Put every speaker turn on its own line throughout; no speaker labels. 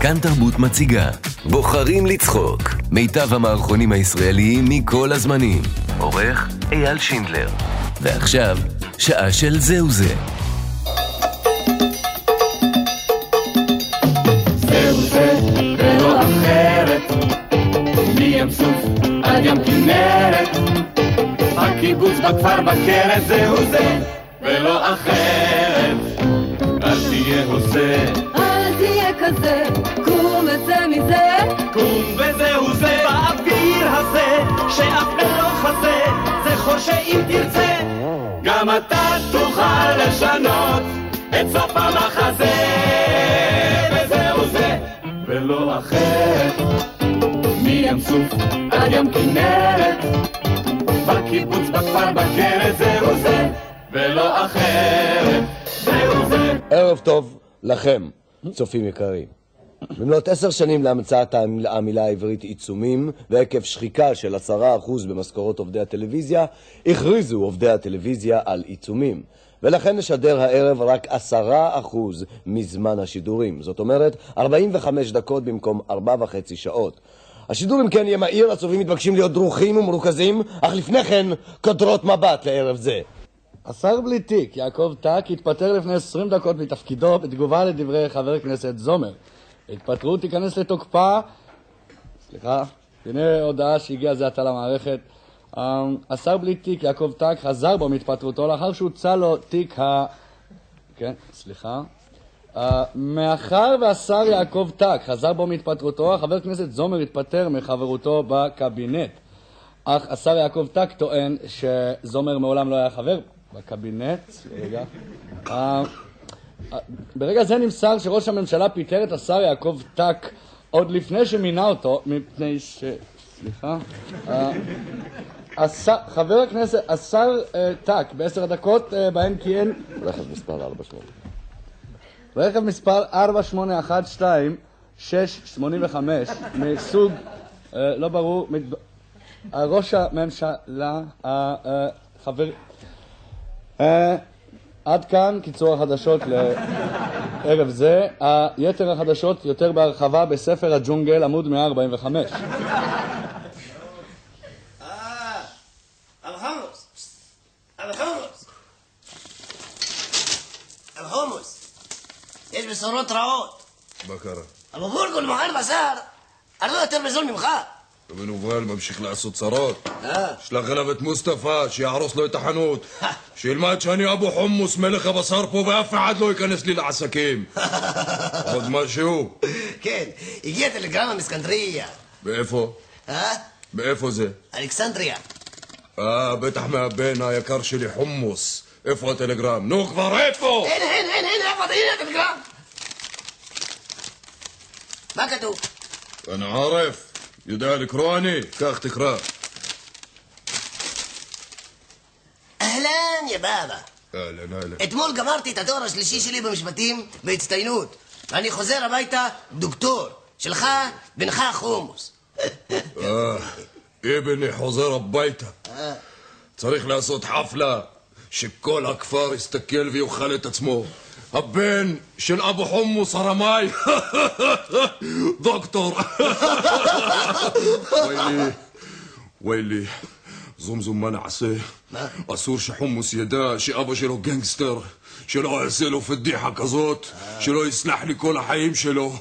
כאן תרבות מציגה בוחרים לצחוק מיטב המערכונים הישראליים מכל הזמנים עורך אייל שינדלר ועכשיו שעה של זהו זה
זהו זה ולא אחרת מים סוף עד ים כנרת הקיבוץ בכפר בכרס זהו זה ולא אחרת אל תהיה הוזה
אל תהיה כזה, קום וצא מזה,
קום וזהו זה באוויר הזה שאף לא חזה זה חור שאם תרצה גם אתה תוכל לשנות את סוף המחזה וזהו זה ולא אחרת מים סוף עד ים כנרת בקיבוץ בכפר בכרס זהו זה ולא אחרת זהו זה
ערב טוב לכם, צופים יקרים. במלאת עשר שנים להמצאת המיל- המילה העברית עיצומים, ועקב שחיקה של עשרה אחוז במשכורות עובדי הטלוויזיה, הכריזו עובדי הטלוויזיה על עיצומים. ולכן נשדר הערב רק עשרה אחוז מזמן השידורים. זאת אומרת, 45 דקות במקום ארבע וחצי שעות. השידור אם כן יהיה מהיר, הצופים מתבקשים להיות דרוכים ומרוכזים, אך לפני כן, קודרות מבט לערב זה.
השר בלי תיק, יעקב טאק, התפטר לפני 20 דקות מתפקידו בתגובה לדברי חבר הכנסת זומר. ההתפטרות תיכנס לתוקפה, סליחה, הנה הודעה שהגיעה זה עתה למערכת. אמ, השר בלי תיק, יעקב טאק, חזר בו מתפטרותו לאחר שהוצע לו תיק ה... כן, סליחה. אה, מאחר והשר יעקב טאק חזר בו מהתפטרותו, החבר הכנסת זומר התפטר מחברותו בקבינט. אך השר יעקב טק טוען שזומר מעולם לא היה חבר בקבינט. רגע. אה, אה, ברגע זה נמסר שראש הממשלה פיטר את השר יעקב טק עוד לפני שמינה אותו, מפני ש... סליחה. אה, השר, חבר הכנסת, השר אה, טק, בעשר הדקות אה, בהן כיהן
רכב מספר 48.
רכב מספר 4812-685 מסוג, אה, לא ברור, מת... אה, ראש הממשלה, אה, אה, חבר... אה, עד כאן קיצור החדשות לערב זה. אה, יתר החדשות יותר בהרחבה בספר הג'ונגל, עמוד 145.
Alhamos. Alhamos. الحمص ايش بصورات رعود
בקרה.
المفروض كل محل مسار انا التلفزيون مخاف
ומן ובל לא ממשיך לעשות צרות.
اه
שלח אליו את מוסטפא, שיהרוס לו את החנות. שילמד שאני אבו חומוס, מלך הבשר פה, ואף אחד לא ייכנס לי לעסקים. עוד משהו?
كان يجي تلجرام من اسكندريه
באיפה?
ها
באיפה זה?
الكسندريا
אה, בטח מהבן היקר שלי חומוס. איפה הטלגרם? נו כבר, איפה?
هنا هنا هنا هنا اقعد هنا تلجرام ما كتب
אני ערף. יודע לקרוא אני? קח, תקרא.
اهلا يا بابا
אהלן, אהלן.
אתמול גמרתי את התואר השלישי שלי במשפטים בהצטיינות ואני חוזר הביתה דוקטור שלך בנך חומוס
آه، ابني حزيرة ببيتها צריך לעשות חפלה שכל הכפר יסתכל ויאכל את עצמו. הבן של אבו חומוס הרמאי, דוקטור. ויילי, ויילי, זומזום מה נעשה? אסור שחומוס ידע שאבא שלו גנגסטר, שלא יעשה לו פדיחה כזאת, שלא יסלח לי כל החיים שלו.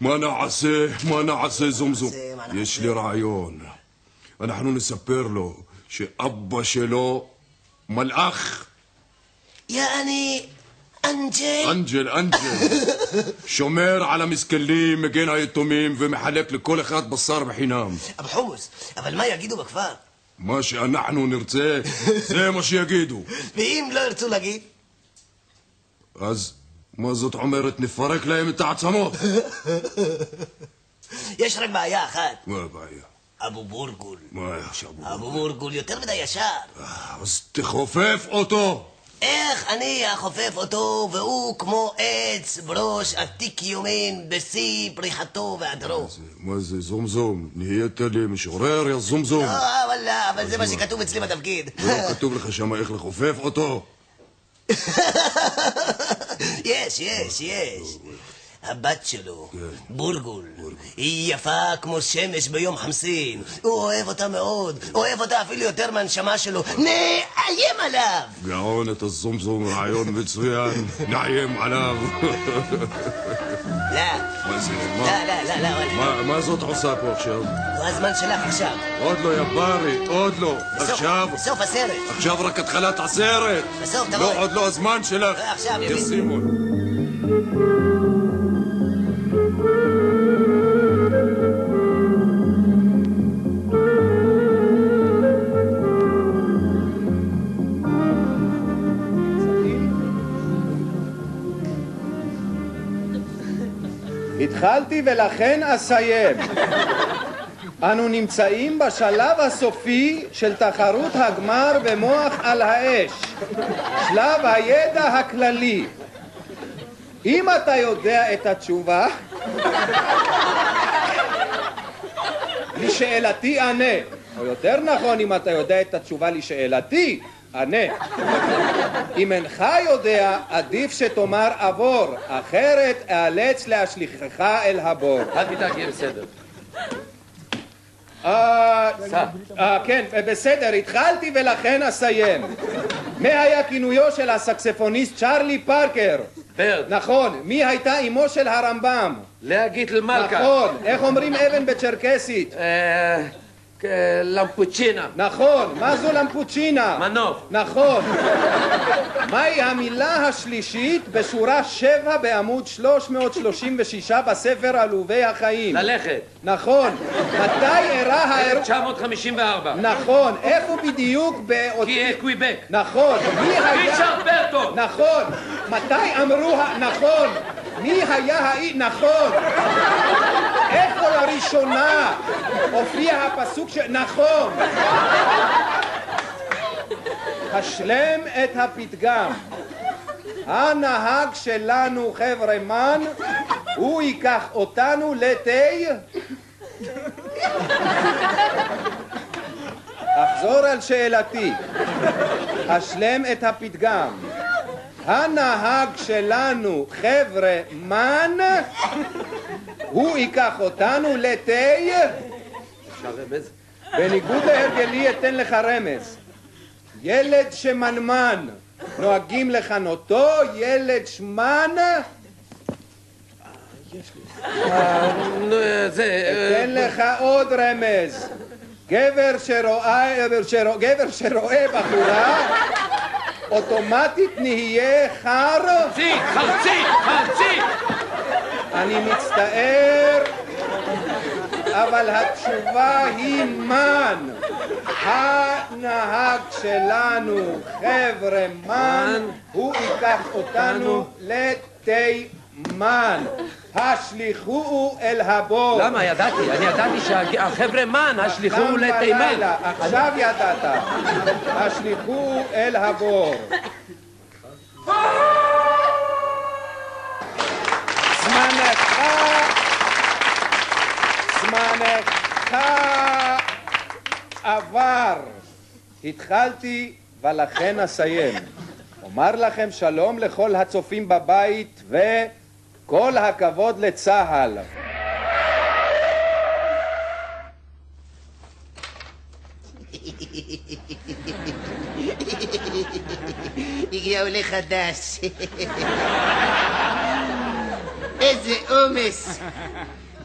מה נעשה? מה נעשה זומזום?
נעשה? מה נעשה?
יש לי רעיון. אנחנו נספר לו שאבא שלו מלאך,
يعني انجي
אנג'ל, אנג'ל, שומר על המסכנים, מגן היתומים ומחלק לכל אחד בשר בחינם.
ابو حمص ابو الماء يجيدوا بكفار
מה שאנחנו נרצה, זה מה שיגידו.
ואם לא ירצו להגיד?
אז מה זאת אומרת, נפרק להם את העצמות?
יש רק בעיה אחת,
מה הבעיה?
אבו בורגול.
מה עכשיו?
אבו בורגול יותר מדי ישר.
אז תכופף אותו.
איך אני החופף אותו והוא כמו עץ ברוש עתיק יומין בשיא פריחתו והדרו?
זה- מה זה, זומזום? נהיית לי משורר, יא זומזום.
אה, וואלה, אבל זה מה שכתוב אצלי בתפקיד.
לא כתוב לך שם איך לכופף אותו?
יש, יש, יש. הבת שלו, בולבול. היא יפה כמו שמש ביום חמסין. הוא אוהב אותה מאוד, אוהב אותה אפילו יותר מהנשמה שלו. נאיים עליו!
גאון את הזומזום, רעיון מצוין, נאיים עליו.
לא,
מה זה?
לא,
מה?
לא, לא, לא, וואלה.
מה, מה זאת עושה פה עכשיו?
הוא הזמן שלך עכשיו.
עוד לא, יא ברי, עוד לא.
בסוף-
עכשיו,
בסוף הסרט.
עכשיו רק התחלת הסרט.
בסוף, תבואי.
לא, עוד לא הזמן שלך.
לא, עכשיו,
יא
יביא.
סימון.
התחלתי ולכן אסיים. אנו נמצאים בשלב הסופי של תחרות הגמר במוח על האש, שלב הידע הכללי. אם אתה יודע את התשובה, לשאלתי ענה, או יותר נכון, אם אתה יודע את התשובה לשאלתי, ענה. אם אינך יודע, עדיף שתאמר עבור, אחרת אאלץ להשליכך אל הבור. אל תדאג, יהיה בסדר. אה, כן, בסדר, התחלתי ולכן אסיים. מה היה כינויו של הסקספוניסט צ'רלי פארקר?
פרד.
נכון, מי הייתה אמו של הרמב"ם?
לאה גיטל מלכה.
נכון, איך אומרים אבן בצ'רקסית?
אה, אה, למפוצ'ינה.
נכון, מה זו למפוצ'ינה?
מנוף.
נכון. מהי המילה השלישית בשורה 7 בעמוד 336 בספר עלובי החיים?
ללכת.
נכון. מתי אירע האירוע...
1954.
נכון. איפה בדיוק באות...
כי אה, קוויבק.
נכון. מי היה...
ריצ'רד ברטון.
נכון. מתי אמרו... ה- נכון. מי היה האי... נכון. איפה לראשונה הופיע הפסוק ש... נכון. השלם את הפתגם. הנהג שלנו, חבר'ה מן, הוא ייקח אותנו לתה... אחזור על שאלתי. השלם את הפתגם. הנהג שלנו, חבר'ה מן, הוא ייקח אותנו לתה... בניגוד להרגלי אתן לך רמז. ילד שמנמן, נוהגים לכנותו ילד שמן,
נו, אה, זה... אה,
אתן לך עוד רמז. גבר שרואה, שרוא, גבר שרואה בחורה, אוטומטית נהיה חר,
חרצית, חרצית, חרצית!
אני מצטער, אבל התשובה היא מן. הנהג שלנו, חבר'ה מן, הוא ייקח אותנו לתימן. השליכוהו אל הבור.
למה? ידעתי, אני ידעתי שהחבר'ה מן, השליחו
גם בלילה,
לתימן.
עכשיו ידעת. השליכוהו אל הבור. זמנך, זמנך עבר. התחלתי ולכן אסיים. אומר לכם שלום לכל הצופים בבית וכל הכבוד לצה"ל.
הגיע עולה חדש. איזה עומס!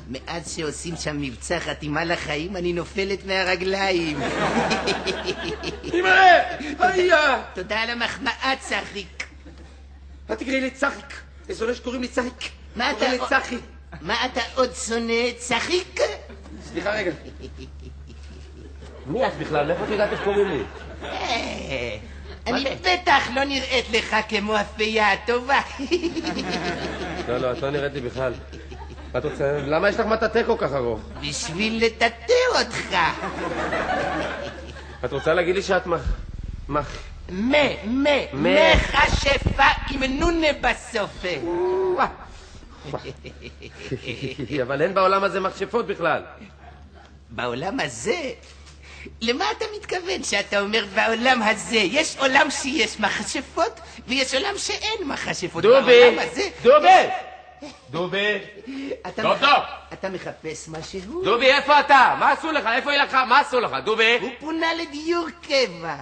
מאז שעושים שם מבצע חתימה לחיים, אני נופלת מהרגליים.
אמרה! היה!
תודה על המחמאה, צחיק.
אל תקראי לי צחיק. יש עולה שקוראים לי צחיק.
מה אתה...
קוראים לי צחי.
מה אתה עוד שונא, צחיק?
סליחה רגע. מי את בכלל? מאיפה את יודעת איך קוראים לי?
אה, אני בטח לא נראית לך כמו הפייה הטובה.
לא, לא, את לא נראית לי בכלל. את רוצה... למה יש לך מטאטא כל כך ארוך?
בשביל לטאטא אותך.
את רוצה להגיד לי שאת מח... מח...
מה, מה,
מה.
מכשפה עם נונה בסוף.
אבל אין בעולם הזה מכשפות בכלל.
בעולם הזה? למה אתה מתכוון שאתה אומר בעולם הזה? יש עולם שיש מכשפות ויש עולם שאין מכשפות.
דובי!
בעולם הזה
דובי!
דובי!
אתה
טוב,
מח-
טוב.
אתה מחפש משהו?
דובי, איפה אתה? מה עשו לך? איפה היא לקחה? מה עשו לך? דובי?
הוא פונה לדיור קבע.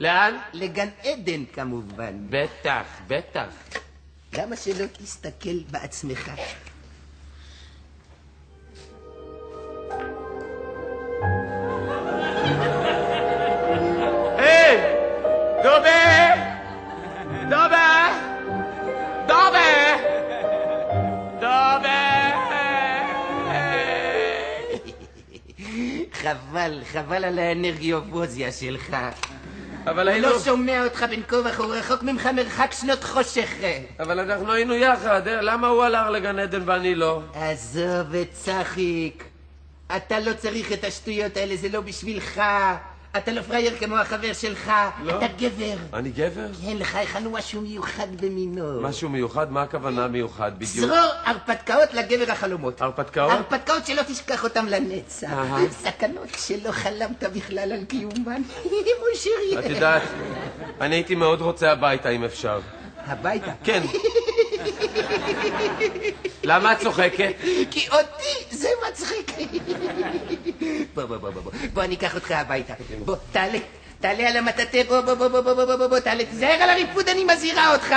לאן?
לגן עדן כמובן.
בטח, בטח.
למה שלא תסתכל בעצמך?
היי! דובי! דובי! דובי!
אה!
דובי!
חבל, חבל על האנרגיובוזיה שלך.
אבל
אני
היינו...
לא שומע אותך בין כה וכה, הוא רחוק ממך מרחק שנות חושך. אה.
אבל אנחנו היינו יחד, אה? למה הוא הלך לגן עדן ואני לא?
עזוב את אה, צחיק. אתה לא צריך את השטויות האלה, זה לא בשבילך. אתה לא פראייר כמו החבר שלך.
לא?
אתה גבר.
אני גבר?
אין לך היכן הוא משהו מיוחד במינו.
משהו מיוחד? מה הכוונה מיוחד בדיוק?
צרור הרפתקאות לגבר החלומות.
הרפתקאות?
הרפתקאות שלא תשכח אותן לנצח.
אהה.
סכנות שלא חלמת בכלל על קיומן. מושר יהיה.
את יודעת, אני הייתי מאוד רוצה הביתה אם אפשר.
הביתה.
כן. למה את צוחקת?
כי אותי זה מצחיק. בוא, בוא, בוא, בוא, בוא. בוא, אני אקח אותך הביתה. בוא, תעלה. תעלה על המטאטה, בוא, בוא, בוא, בוא, בוא, בוא, בוא, בוא, בוא, תעלה. תיזהר על הריפוד, אני מזהירה אותך.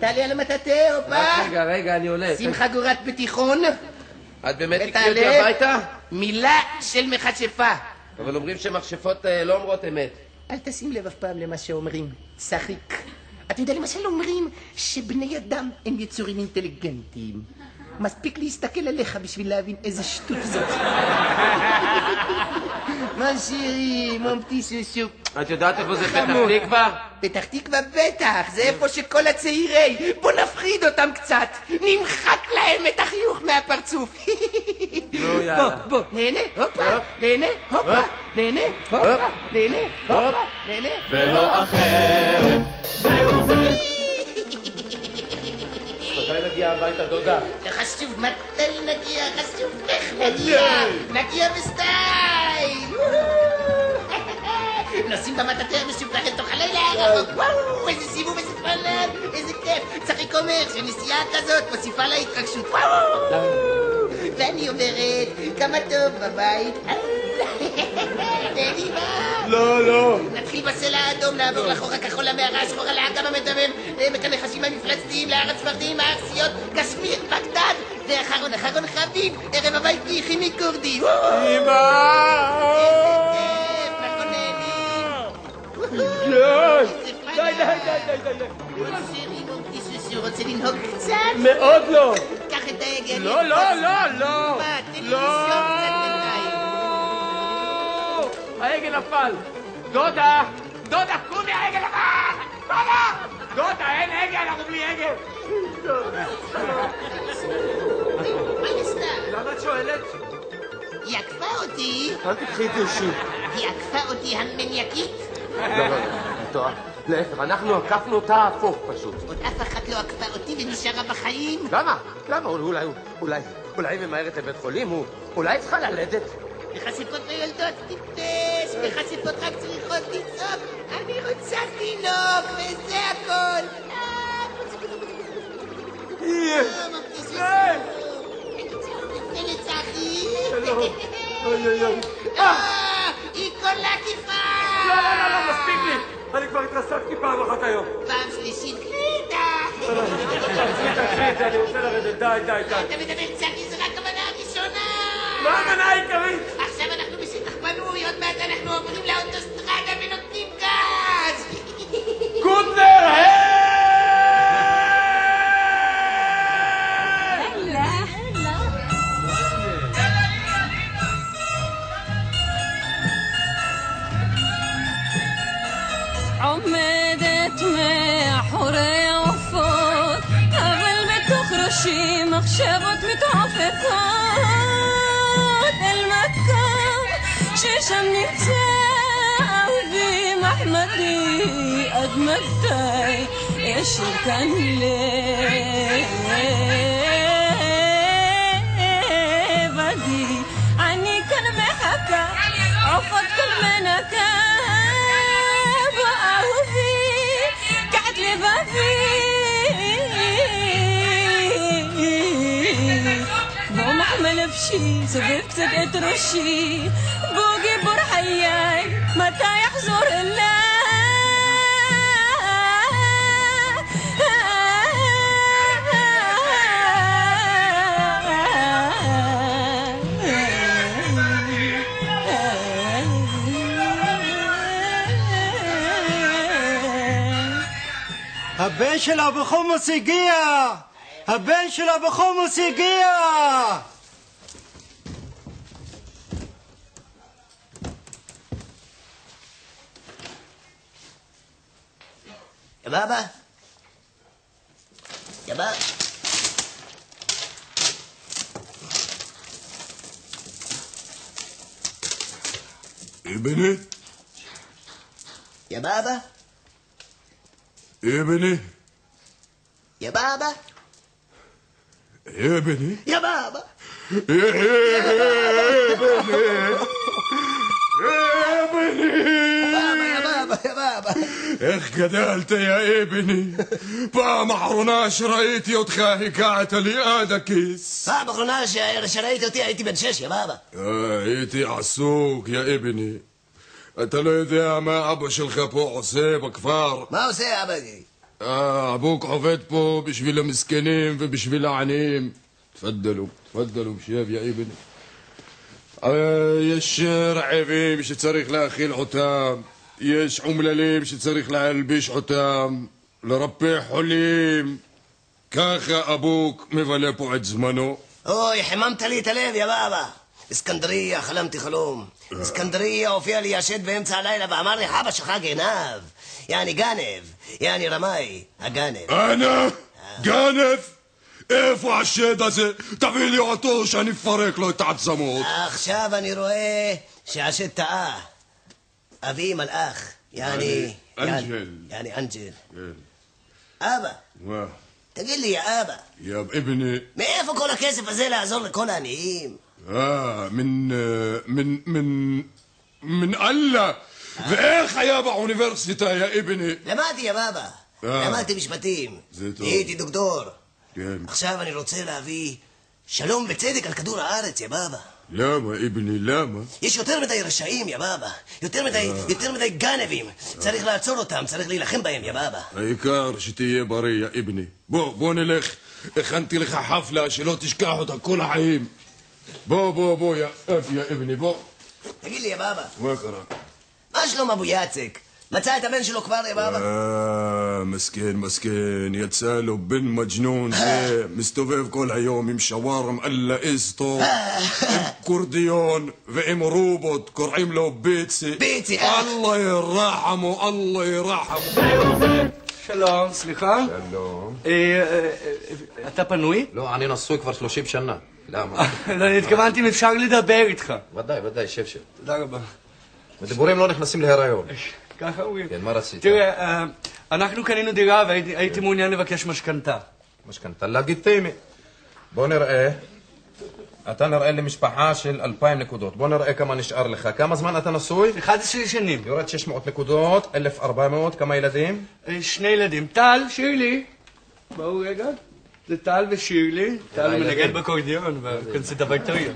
תעלה על המטאטה,
רק
הופה.
רגע, רגע, אני עולה.
שים חגורת בתיכון.
את באמת תקחי אותי
ותעלה.
הביתה?
מילה של מכשפה.
אבל אומרים שמכשפות אה, לא אומרות אמת.
אל תשים לב אף פעם למה שאומרים, צחיק. אתה יודע למשל אומרים שבני אדם הם יצורים אינטליגנטיים. מספיק להסתכל עליך בשביל להבין איזה שטות זאת. מנשירי, מומטי שושו.
את יודעת איפה זה פתח
חמור.
תקווה?
פתח תקווה בטח, זה איפה שכל הצעירי. בוא נפחיד אותם קצת. נמחק להם את החיוך מהפרצוף.
נו,
בוא,
יאללה.
בוא, נהנה, הופה, נהנה, הופה, נהנה, הופה, נהנה, הופה, נהנה.
ולא אחרת, זהו זה.
מתי נגיע הביתה, דודה?
חשוב, מתי נגיע? חשוב, איך נגיע? נגיע בסטייל! וואו! נוסעים במטאטה המשובחת תוך הלילה הרחוק, וואו! איזה סיבוב, איזה פלאב, איזה כיף! צחיק אומר שנסיעה כזאת מוסיפה להתרגשות, וואו! ואני אומרת, כמה טוב בבית, נהנימה!
לא, לא.
נתחיל בסלע האדום, נעבור לחור הכחול, למערה השחורה, לאגם המדמם, לעמק הנחשים המפלצתיים, להר הצפרדעים, הארסיות, קשמיר, בגדד, ואחרון אחרון חביב, ערב הבית ביחימי כורדי. וואו,
אמא!
כיף, אנחנו נהנים. איזה פאנה. מוסירי, מורטי, שושו, רוצה לנהוג קצת?
מאוד לא!
קח את ההגה.
לא, לא, לא, לא!
מה, תן לי
לא!
לנשום קצת בינתיים.
העגל נפל! דודה! דודה, קומי העגל נפל! דודה! דודה, אין עגל, אנחנו בלי עגל!
מה נסתם?
למה את שואלת?
היא עקפה אותי,
אל תקחי את זה אישית.
היא עקפה אותי המניאקית.
לא, לא, את טועה. להפך, אנחנו עקפנו אותה הפוך פשוט.
עוד אף אחת לא עקפה אותי ונשארה בחיים.
למה? למה? אולי, אולי, אולי היא ממהרת לבית חולים? הוא- אולי היא צריכה ללדת?
בחשיפות מיולדות טיפש, בחשיפות רק צריכות לצעוק, אני רוצה תינוק, וזה הכל! אה,
אה,
לא, מבטיח שזה טוב. אני צועקת, תן לי צחי. אה, היא כל עקיפה!
לא, אני כבר התרסקתי פעם אחת היום.
פעם שלישית
לא,
גלידה!
אני רוצה לרדת, די, די, די.
אתה מדבר צחי, זה רק המנה הראשונה!
מה המנה העיקרית?
עכשיו אנחנו בשטח בנוי, עוד מעט אנחנו עוברים לאוטוסטרדה ונותנים גז!
קוטלר,
עומדת מאחורי העופות, אבל בתוך ראשי מחשבות מתעופפות אל מקום ששם נמצא אהובי מחמדי, עד מתי ישיר כאן לבדי? אני כאן מחכה, עופות כאן מנקה. אהובי, קעת לבבי وأمعم نفسي سببت بقيت رشي بوقي برحياي متى يحزر
הבן של אבו חומוס הגיע! הבן של אבו חומוס הגיע!
يا بابا يا بابا
ايه بني
يا بابا
ايه بني
يا بابا
ايه بني
يا بابا
ايه بني
يا بابا يا بابا يا بابا
איך גדלת, יא אבני? פעם אחרונה שראיתי אותך הגעת לי עד הכיס.
פעם אחרונה ש- שראית אותי הייתי בן שש, יא בבא.
אה, הייתי עסוק, יא אבני. אתה לא יודע מה אבא שלך פה עושה בכפר?
מה עושה אבא שלי?
אה, אבוק עובד פה בשביל המסכנים ובשביל העניים. תפדלו, תפדלו, שב, יא אבני. אה, יש אה, רעבים שצריך להאכיל אותם, יש אומללים שצריך להלביש אותם, לרפא חולים. ככה אבוק מבלה פה את זמנו.
אוי, חיממת לי את הלב, יא בבא. اسكندرية حلمت خلوم
אה.
اسكندرية وفيها لي شد بامتصع ليلة ואמר לי אבא שלך גנב יעני גנב יעני רמאי הגנב
أنا جانف איפה השד הזה? תביא לי אותו שאני אפרק לו את העצמות.
עכשיו אני רואה שהשד טעה אבי מלאך יעני
אנג'ל.
יעני אנג'ל
כן.
אבא
מה?
תגיד לי יא אבא
יא אבני.
מאיפה כל הכסף הזה לעזור לכל העניים?
آه من من من من الله ואיך היה באוניברסיטה, יא אבני?
למדתי יא בבא
אה.
למדתי משפטים
זה טוב.
נהייתי דוקטור
כן.
עכשיו אני רוצה להביא שלום וצדק על כדור הארץ, יא בבא.
למה, אבני, למה?
יש יותר מדי רשעים, יא בבא. יותר מדי,
אה.
יותר מדי גנבים. צריך לעצור אותם, צריך להילחם בהם, יא בבא.
העיקר שתהיה בריא, יא אבני. בוא, בוא נלך. הכנתי לך חפלה שלא תשכח אותה כל החיים. בוא, בוא, בוא, יא אב, יא אבני, בוא.
תגיד לי, יא בבא,
מה קרה?
מה שלום אבו יצק? מצא את הבן שלו כבר, יא בבא?
אה, מסכן, מסכן, יצא לו בן מג'נון זה, מסתובב כל היום עם שווארם אללה איסטו, עם קורדיון ועם רובוט, קוראים לו ביצי.
ביצי, אה.
אללה ירחמו, אללה ירחמו.
שלום, סליחה? אה,
שלום.
אתה פנוי?
לא, אני נשוי כבר 30 שנה. למה?
לא, אני התכוונתי אם אפשר לדבר איתך.
ודאי, ודאי, שב שב.
תודה רבה.
דיבורים לא נכנסים להיריון.
ככה אומרים.
כן, מה רצית? כן.
תראה, אה, אנחנו קנינו דירה והייתי הייתי מעוניין לבקש משכנתה.
משכנתה לגיטימי. בוא נראה. אתה נראה לי משפחה של 2,000 נקודות. בוא נראה כמה נשאר לך. כמה זמן אתה נשוי?
11 שנים.
יורד 600 נקודות, 1,400, כמה ילדים?
אה, שני ילדים, טל, שירלי. בואו רגע. זה טל ושירלי. טל הוא מנגן בקורדיון, בקונסיטבקטוריה.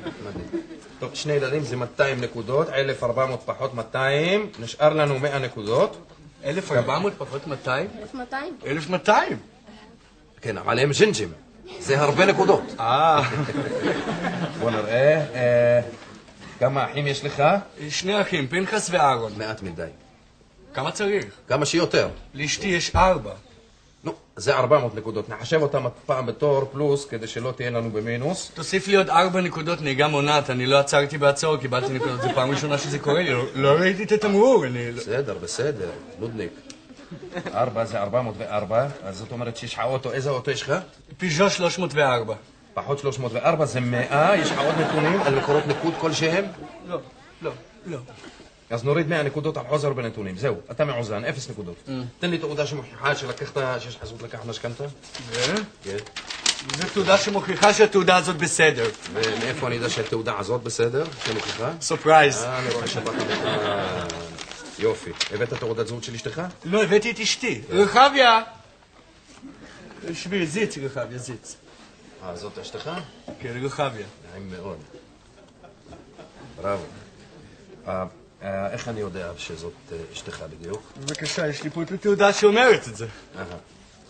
טוב, שני ילדים זה 200 נקודות, 1,400 פחות 200, נשאר לנו 100 נקודות.
1,400 פחות 200?
1200.
1,200.
כן, אבל הם ג'ינג'ים. זה הרבה נקודות.
אה.
בוא נראה. אה, כמה אחים יש לך?
שני אחים, פנחס ואהרון.
מעט מדי.
כמה צריך?
כמה שיותר.
לאשתי יש ארבע.
נו, זה 400 נקודות. נחשב אותם הפעם בתור פלוס, כדי שלא תהיה לנו במינוס.
תוסיף לי עוד ארבע נקודות נהיגה מונעת, אני לא עצרתי בעצור, קיבלתי נקודות, זו פעם ראשונה שזה קורה לי, לא- לא ראיתי את התמרור, אני... לא-
בסדר, בסדר, נודניק. ארבע זה 404, אז זאת אומרת שיש לך אוטו, איזה אוטו יש לך?
פיז'ו 304.
פחות 304 זה 100, יש לך עוד נתונים על מקורות ניקוד כלשהם?
לא, לא, לא.
אז נוריד 100 נקודות על חוזר בנתונים, זהו, אתה מאוזן, אפס נקודות.
אה.
תן לי תעודה שמוכיחה שלקחת, שיש לך זכות לקחת משכנתה.
ו?
כן.
זו תעודה שמוכיחה שהתעודה הזאת בסדר.
ומאיפה אני יודע שהתעודה הזאת בסדר? שמוכיחה?
סופרייז.
אה, אני רואה שבאת בכלל. יופי. הבאת תעודת זהות של אשתך?
לא, הבאתי את אשתי. רחביה! שבי, זיץ, רחביה, זיץ.
אה, זאת אשתך?
כן, רוחביה.
נעים מאוד. בראבו. אה, אה, איך אני יודע שזאת אה, אשתך בדיוק?
בבקשה, יש לי פה את התעודה שאומרת את זה.
אהה.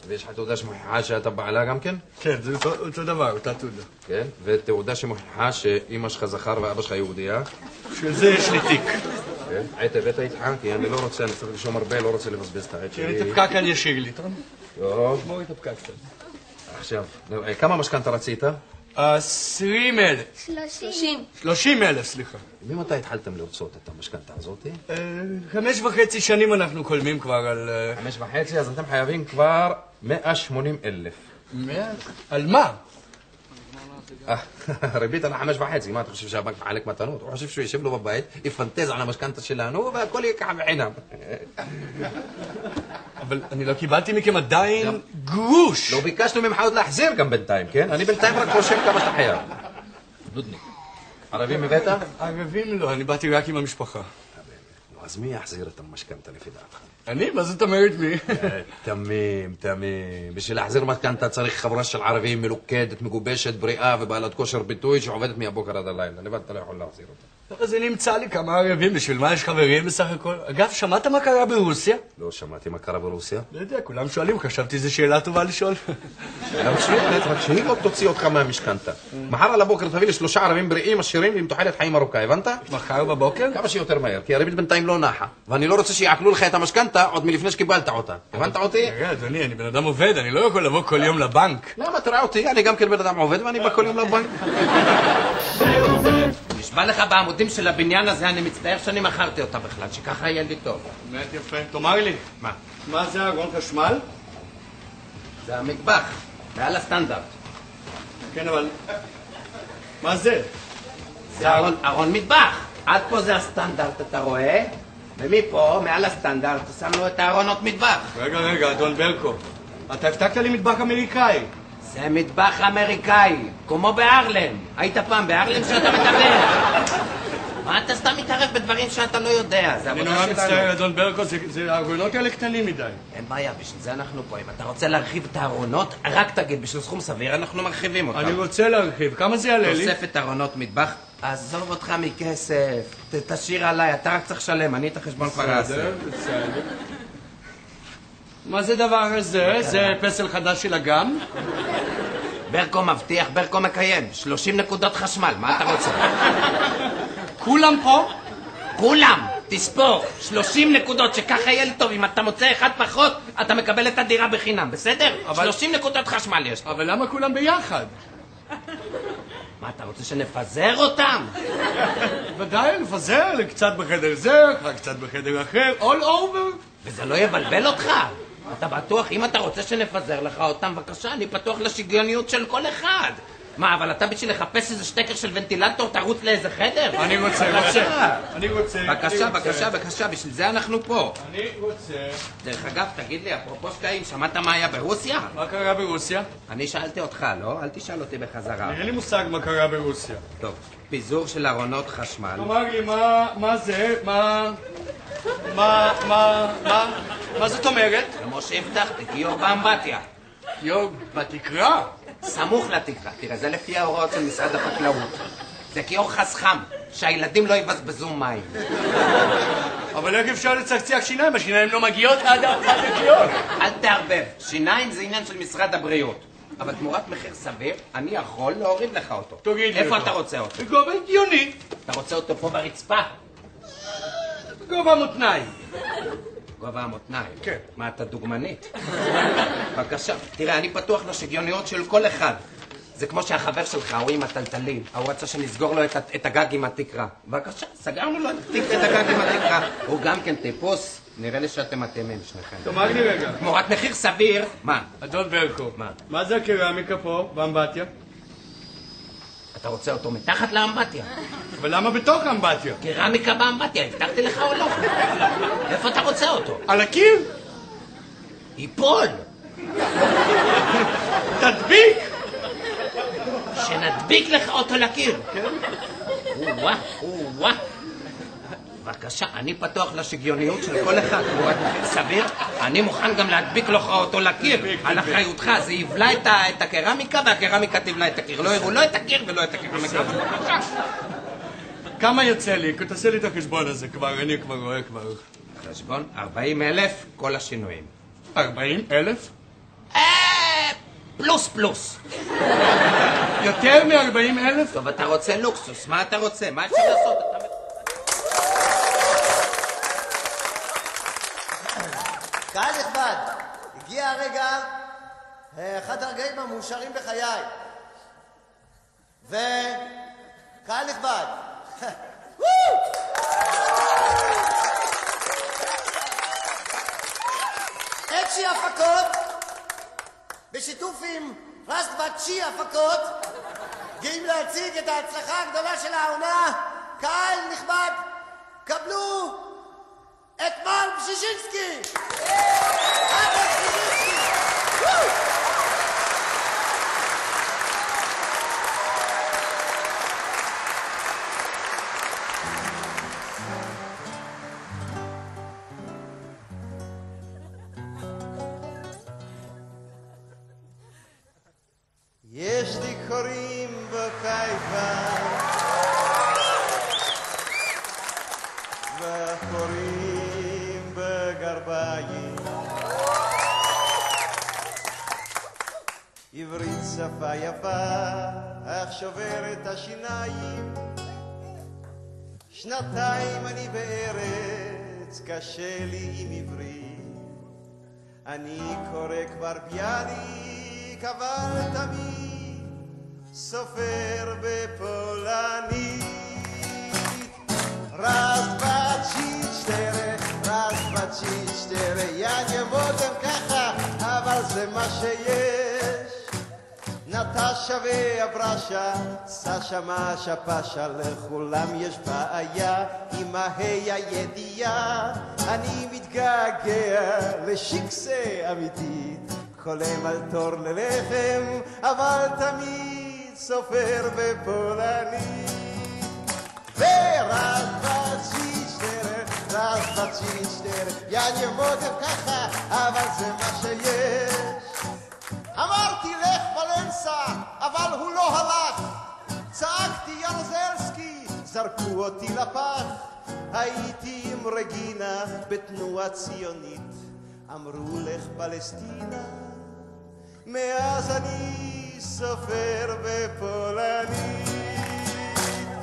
ויש לך תעודה שמוכיחה שאתה בעלה גם כן?
כן, זה אותו- אותו דבר, אותה תעודה.
כן. ותעודה שמוכיחה שאימא שלך זכר ואבא שלך יהודייה?
בשביל זה יש לי תיק.
כן. עט הבאת איתך? כי אני לא רוצה, אני צריך לרשום הרבה, לא רוצה לבזבז את העט
תראי
שלי.
את הפקק על ישיר לי, טוב?
טוב,
תשמור את הפקק קצת.
עכשיו, נראה. כמה משכנתה רצית?
עשרים אלף.
שלושים.
שלושים אלף, סליחה.
ממתי התחלתם לרצות את המשכנתה הזאת?
אה, חמש וחצי שנים אנחנו קולמים כבר על... אה,
חמש וחצי, אז אתם חייבים כבר 180 אלף.
מאה? על מה?
אה, ריבית על החמש וחצי, מה אתה חושב שהבנק מחלק מתנות? הוא חושב שהוא יושב לו בבית, יפנטז על המשכנתה שלנו והכל ייקח בחינם.
אבל אני לא קיבלתי מכם עדיין גרוש.
לא ביקשנו ממך עוד להחזיר גם בינתיים, כן? אני בינתיים רק רושם כמה שאתה חייב. נודניק. ערבים הבאת?
ערבים לא, אני באתי רק עם המשפחה.
נו, אז מי יחזיר את המשכנתה לפי דעתך?
אני? מה זאת אומרת מי?
אה, תמים, תמים. בשביל להחזיר משכנתה צריך חבורה של ערבים מלוכדת, מגובשת, בריאה ובעלת כושר ביטוי שעובדת מהבוקר עד הלילה. לבד אתה לא יכול להחזיר אותה.
אז אני אמצא לי כמה ערבים, בשביל מה יש חברים בסך הכל? אגב, שמעת מה קרה ברוסיה?
לא שמעתי מה קרה ברוסיה.
לא יודע, כולם שואלים, חשבתי שזו שאלה טובה לשאול.
גם שטרית, רק שהיא לא תוציא אותך מהמשכנתה. מחר על הבוקר תביא לי שלושה ערבים בריאים, עשירים ועם תוחלת חיים ארוכה, הבנת?
מחר בבוקר?
כמה שיותר מהר, כי הריבית בינתיים לא נחה. ואני לא רוצה שיעקלו לך את המשכנתה עוד מלפני שקיבלת
אה,
אותה. הבנת אותי?
תראה, אדוני, אני בן אדם עובד, אני לא יכול לבוא כל יום לבנק.
למה תראה אותי? אני גם כן בן אדם עובד ואני בא כל יום לבנק.
נשבע לך בעמודים של הבניין הזה, אני מצטער שאני מכרתי אותה בכלל, שככה יהיה לי טוב.
באמת יפה. תאמר לי.
מה?
מה זה ארון חשמל?
זה המטבח, מעל הסטנדרט.
כן, אבל... מה זה?
זה ארון, ארון מטבח. עד פה זה הסטנדרט, אתה רואה? ומפה, מעל הסטנדרט, שמנו את הארונות מטבח.
רגע, רגע, אדון ברקו. אתה הבטחת לי מטבח אמריקאי.
זה מטבח אמריקאי, כמו בארלם. היית פעם בארלם שאתה מדבר? מה אתה סתם מתערב בדברים שאתה לא יודע? זה
אני
עבודה
נורא
שלנו.
מצטער, אדון ברקו, זה- זה הארונות האלה קטנים מדי.
אין בעיה, בשביל זה אנחנו פה. אם אתה רוצה להרחיב את הארונות, רק תגיד, בשביל סכום סביר אנחנו מרחיבים אותם.
אני רוצה להרחיב, כמה זה יעלה לי?
תוספת ארונות מטבח. עזוב אותך מכסף, ת- תשאיר עליי, אתה רק צריך לשלם, אני את החשבון כבר אעשה.
בסדר, בסדר. מה זה דבר הזה? זה פסל חדש של אגם?
ברקו מבטיח, ברקו מקיים. 30 נקודות חשמל, מה אתה רוצה?
כולם פה?
כולם! תספור, 30 נקודות, שככה יהיה לי טוב. אם אתה מוצא אחד פחות, אתה מקבל את הדירה בחינם, בסדר? 30 נקודות חשמל יש.
אבל למה כולם ביחד?
מה, אתה רוצה שנפזר אותם?
ודאי, נפזר, קצת בחדר זה, קצת בחדר אחר, all over.
וזה לא יבלבל אותך? אתה בטוח, אם אתה רוצה שנפזר לך אותם, בבקשה, אני פתוח לשוויוניות של כל אחד. מה, אבל אתה בשביל לחפש איזה שטקר של ונטילטור, תרוץ לאיזה חדר?
אני רוצה,
בבקשה.
רוצה. אני רוצה.
בבקשה,
אני רוצה.
בבקשה, בבקשה, בשביל זה אנחנו פה.
אני רוצה.
דרך אגב, תגיד לי, אפרופו שקעים, שמעת מה היה ברוסיה?
מה קרה ברוסיה?
אני שאלתי אותך, לא? אל תשאל אותי בחזרה.
אין לי מושג מה קרה ברוסיה.
טוב, פיזור של ארונות חשמל.
תאמר לי, מה- מה זה? מה... מה... מה... מה? מה זאת אומרת?
כמו שהבטחתי, גיור באמבטיה.
גיור בתקרה?
סמוך לתקרה. תראה, זה לפי ההוראות של משרד החקלאות. זה גיור חסכם, שהילדים לא יבזבזו מים.
אבל איך אפשר לצקצק שיניים? השיניים לא מגיעות עד עד הגיור.
אל תערבב, שיניים זה עניין של משרד הבריאות. אבל תמורת מחיר סביר, אני יכול להוריד לך אותו.
תגיד לי
איפה
אותו.
אתה רוצה אותו?
בגובה הגיוני.
אתה רוצה אותו פה ברצפה?
גובה מותניים.
גובה המותניים.
כן.
מה, אתה דוגמנית? בבקשה. תראה, אני פתוח לשוויוניות של כל אחד. זה כמו שהחבר שלך, ההוא עם הטלטלים, ההוא רצה שנסגור לו את, ה- את הגג עם התקרה. בבקשה, סגרנו לו את התיק- את הגג עם התקרה. הוא גם כן טיפוס, נראה לי שאתם מתאימים שניכם.
תאמר לי רגע.
תמורת מחיר סביר, מה?
אדון ברקו.
מה?
מה זה הקרמיקה פה, באמבטיה?
אתה רוצה אותו מתחת לאמבטיה.
אבל למה בתוך האמבטיה?
קרמיקה באמבטיה, הבטחתי לך או לא? איפה אתה רוצה אותו?
על הקיר?
ייפול!
תדביק! כן.
שנדביק לך אותו לקיר. או-אה, או-אה. בבקשה, אני פתוח לשוויוניות של כל אחד. הוא רק סביר, אני מוכן גם להדביק לך אותו לקיר, על אחריותך. זה יבלע את ה- את הקרמיקה, והקרמיקה תבלע את הקיר. לא יראו לא את הקיר ולא את הקרמיקה. בבקשה.
כמה יוצא לי? תעשה לי את החשבון הזה כבר, אני כבר רואה כבר.
חשבון? 40 אלף, כל השינויים. אה,
40 אלף?
פלוס פלוס. יותר מ-40 אלף? טוב, אתה רוצה לוקסוס, מה אתה רוצה? מה אפשר לעשות? אתה-
אה.
קהל נכבד, הגיע הרגע, אה, אחד הרגעים המאושרים בחיי. וקהל נכבד, וואו! אצ'י הפקות, בשיתוף עם רסטבט צ'י הפקות, גאים להציג את ההצלחה הגדולה של העונה. קהל נכבד, קבלו את מר בז'יז'ינסקי!
יש לי חורים בקיבה וחורים בגרביים עברית שפה יפה, אך שוברת השיניים שנתיים אני בארץ, קשה לי עם עברית אני קורא כבר ביאליק, אבל תמיד סופר בפולנית. raz, dwa, trzy, cztery, raz, dwa, trzy, cztery. Ja nie wodę kacha, אבל זה מה שיש. נטשה ואברשה, סשה, משה, פשה, לכולם יש בעיה עם ההי הידיעה. אני מתגעגע לשיקסה אמיתית, חולם על תור ללחם, אבל תמיד סופר בפולנית. ורז בצ'יצ'טר, רז בצ'יצ'טר, יא נרמודם ככה, אבל זה מה שיש. אמרתי לך ולנסה, אבל הוא לא הלך. צעקתי ירזלסקי, זרקו אותי לפח. הייתי עם רגינה בתנועה ציונית. אמרו לך פלסטינה, מאז אני סופר בפולנית.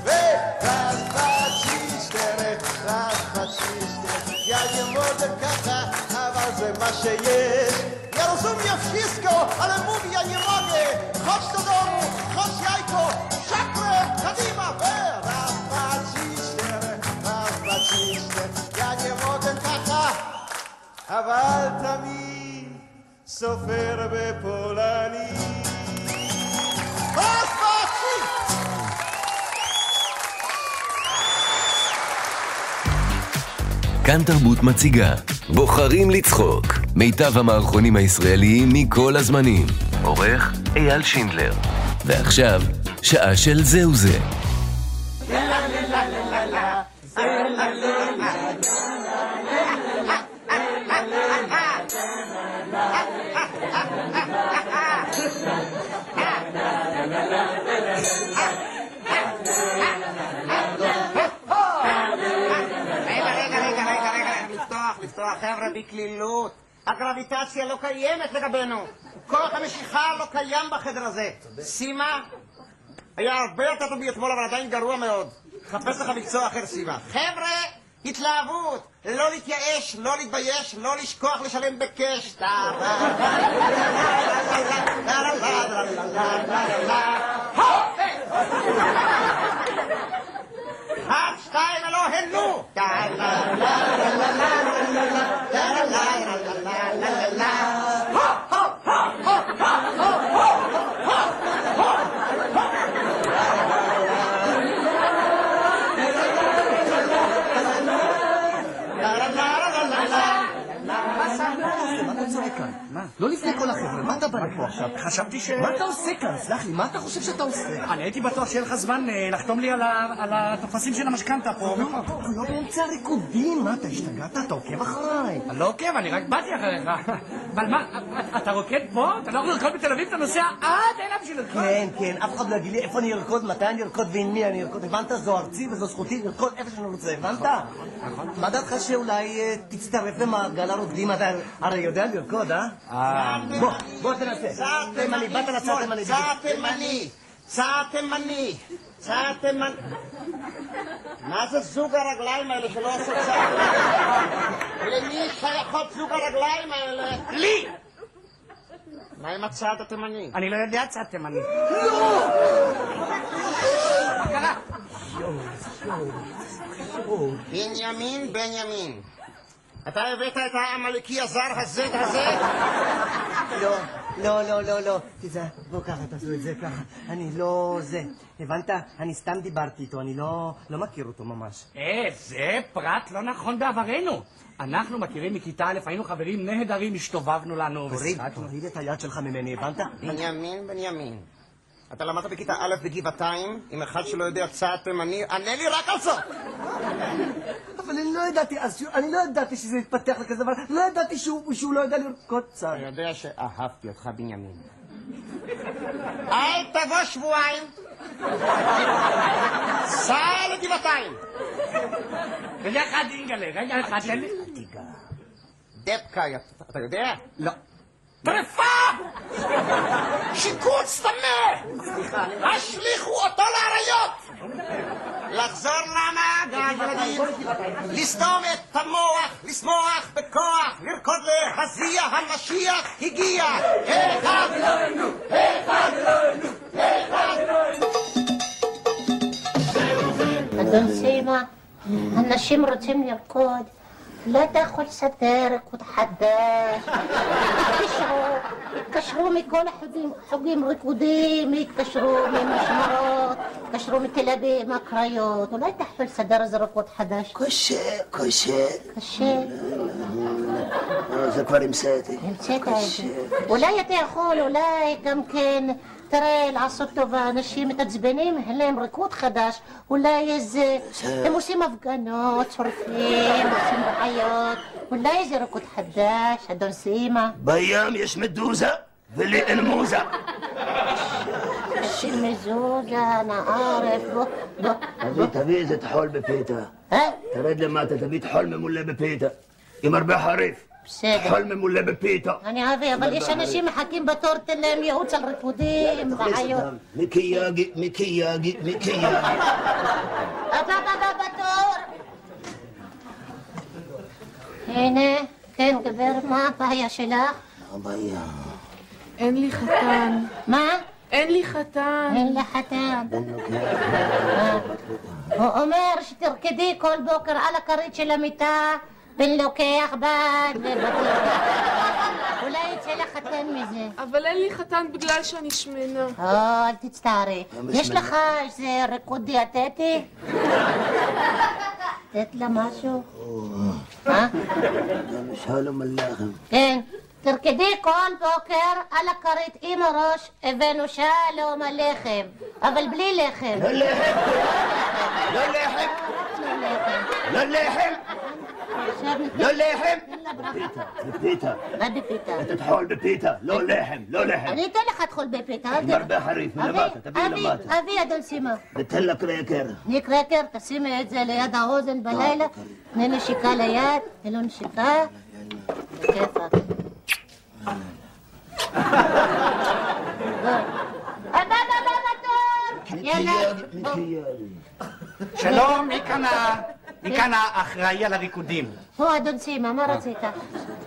ורז בצ'יצ'טר, רז בצ'יצ'טר, יא נרמודם ככה, אבל זה מה שיש. Ja rozumiem wszystko, ale mówię ja nie mogę. Chodź do domu, chodź jajko, szakrę, kadima, we, raz, dwa, trzy, cztery, raz, dwa, trzy, cztery. Ja nie mogę kaka, a walta mi, sofer by polani. Raz, dwa, trzy!
כאן תרבות מציגה בוחרים לצחוק מיטב המערכונים הישראליים מכל הזמנים עורך אייל שינדלר ועכשיו שעה של זהו זה
רגע, רגע, רגע, רגע, רגע, לפתוח, לפתוח, חבר'ה, בקלילות. הגרביטציה לא קיימת לגבינו. כוח המשיכה לא קיים בחדר הזה. סימה היה הרבה יותר טוב מאתמול, אבל עדיין גרוע מאוד. חפש לך מקצוע אחר, סימה. חבר'ה, התלהבות. לא להתייאש, לא להתבייש, לא לשכוח לשלם בקש. אחת, שתיים, הלא הנו!
לא
מה אתה בא לפה? עכשיו? חשבתי ש...
מה אתה עושה כאן? סלח לי, מה אתה חושב שאתה עושה?
אני הייתי בטוח שיהיה לך זמן אה, לחתום לי על ה- על הטפסים של המשכנתה פה.
הוא לא באמצע הריקודים, מה אתה השתגעת? אתה עוקב אחריי.
אני לא עוקב, אני רק באתי אחריך. אבל מה, אתה- אתה רוקד פה? אתה לא יכול לרקוד בתל אביב? אתה נוסע עד אליו בשביל לרקוד?
כן, כן, אף אחד לא יגיד לי איפה אני ארקוד, מתי אני ארקוד ועם מי אני ארקוד. הבנת? זו ארצי וזו זכותי לרקוד איפה שאני רוצה, הבנת? מה דעתך שאולי אה, תצטרף למעגל הרוקדים? אתה הרי יודע לרקוד, אה? בוא, בוא תנסה.
צעד
תימני, באת לצד תימני.
צעד תימני, צעד תימני, צעד תימני. מה זה זוג הרגליים האלה שלא עושה צעד? למי שייכות זוג הרגליים האלה? לי! מה עם הצעד התימני?
אני לא יודע צד תימני.
לא! בנימין, בנימין. אתה הבאת את העמלקי הזר הזה הזה?
לא, לא, לא, לא, לא. תיזהר, בוא ככה, תעשו את זה ככה. אני לא זה. הבנת? אני סתם דיברתי איתו, אני לא לא מכיר אותו ממש.
אה, זה פרט לא נכון בעברנו. אנחנו מכירים מכיתה א', היינו חברים נהדרים, השתובבנו לנו
תוריד, תוריד את היד שלך ממני, הבנת?
בנימין, בנימין. אתה למדת בכיתה א' בגבעתיים, עם אחד שלא יודע צעד תימני, ענה לי רק על זאת!
אבל אני לא ידעתי אז, שהוא- אני לא ידעתי שזה יתפתח לכזה דבר, לא ידעתי שהוא שהוא לא יודע לרקוד צעד.
אני יודע שאהבתי אותך, בנימין. אל תבוא שבועיים! סע לגבעתיים!
ולך עד אינגלה, רגע אחד, תן לי...
דבקה, אתה יודע?
לא. טרפה!
שיקוץ טמא!
סליחה, אני...
השליכו אותו לאריות! לחזור למעגל ילדים, לסתום את המוח, לשמוח בכוח, לרקוד להזיע, המשיח הגיע! אחד אלוהינו! אחד אלוהינו! אחד אלוהינו!
אדון סימה, אנשים רוצים לרקוד. לא תאכול סדר, ריקוד חדש. התקשרו, התקשרו מכל החוגים, חוגים ריקודים, התקשרו ממשמרות, התקשרו מתל אביב, מהקריות. אולי תאכול סדר איזה ריקוד חדש. קשה,
קשה.
קשה.
אה, זה כבר המצאתי.
המצאת את זה. אולי אתה יכול, אולי גם כן, תראה, לעשות טובה, אנשים מתעצבנים, אין להם ריקוד חדש, אולי איזה...
בסדר.
הם עושים הפגנות, שורפים, עושים בעיות, אולי איזה ריקוד חדש, אדון סימה.
בים יש מדוזה, ולי אין מוזה.
אנשים מזוזה, נערף, בוא, בוא.
תביא, תביא איזה טחול בפיתה. תרד למטה, תביא טחול ממולא בפיתה. עם הרבה חריף.
בסדר.
טחול ממולא בפיתה.
אני אבי, אבל יש אנשים מחכים בתור, תן להם ייעוץ על ריקודים,
תכניס
בעיות.
אותם. מיקי יגי, מיקי יגי, מיקי יגי.
הבא, הבא, הבא, בתור. הנה, כן, גבר, מה הבעיה שלך?
הבעיה.
אין לי חתן. מה? אין לי חתן. אין לך חתן. הוא אומר שתרקדי כל בוקר על הכרית של המיטה, בן לוקח בד ובקר. אולי יצא לך חתן מזה.
אבל אין לי חתן בגלל שאני שמנה.
או,
אה.
אל תצטערי. יש
שמנה.
לך איזה ריקוד דיאטטי? לתת לה משהו? אה?
גם שלום עליכם.
כן. תרקדי כל בוקר על הכרית עם הראש, הבאנו שלום הלחם, אבל בלי לחם. לא לחם!
לא לחם! לא לחם! לא לחם! בפיתה.
מה בפיתה?
אתה טחול בפיתה, לא לחם, לא לחם.
אני אתן לך טחול בפיתה, אל
עם
תדאג.
הרבה חריף, מלמטה, תביא
אבי,
למטה.
אבי, אדון סימה.
ותן לה קרקר.
תני קרקר, תשימי את זה ליד האוזן בלילה, תני נשיקה ליד, תני לו נשיקה. בכיפה. הבא, הבא, הבא, בתור! יאללה.
שלום, מי כאן ה- מי כאן האחראי על הריקודים?
הוא אדון סימה, מה רצית?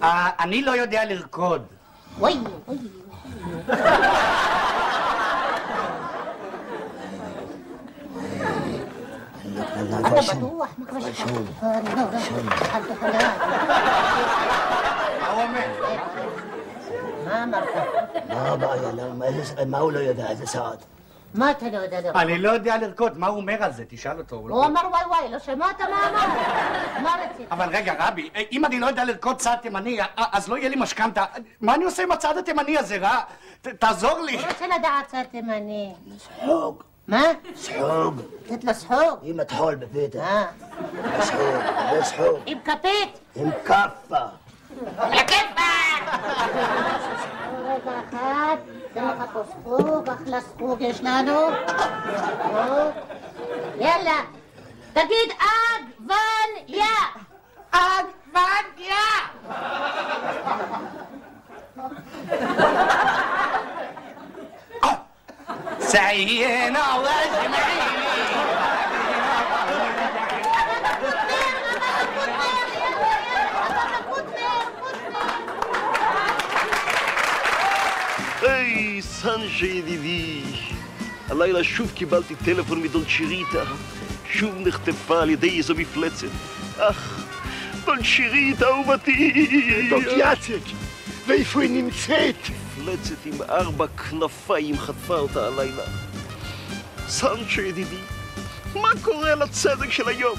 אה, אני לא יודע לרקוד.
אוי, אוי. אתה לא בטוח? מה כבר שלך? אה, לא, לא. אל תוכל מה אמרת?
אה, מה הבעיה? למה? לא איזה- מה הוא לא יודע? איזה שעות?
מה אתה לא יודע לרקוד?
אני לא יודע לרקוד, מה הוא אומר על זה? תשאל אותו. הוא לא-
הוא אמר וואי וואי, לא שמעת מה אמר? מה רצית?
אבל רגע, רבי, אה, אם אני לא יודע לרקוד צעד תימני, אה, אז לא יהיה לי משכנתה. מה אני עושה עם הצעד התימני הזה, רע? ת- תעזור לי.
הוא רוצה לדעת צד תימני.
סחוג.
מה?
סחוג.
לתת לו סחוג.
עם הטחול בפיתה.
אה.
סחוג, לא סחוג.
עם כפית?
עם כאפה.
רגע אחד, זה לך פה סחוג, אחלה סחוג יש לנו. סחוג. יאללה, תגיד עגבניה. עגבניה.
سعينا واجمعين
היי, סנג'ה ידידי, הלילה שוב קיבלתי טלפון מדון שיריטה, שוב נחטפה על ידי איזו מפלצת. אך, דון שיריטה אהובתי!
דון יאצק,
ואיפה היא נמצאת? מפלצת עם ארבע כנפיים חטפה אותה הלילה. סנצ'ה ידידי, מה קורה לצדק של היום?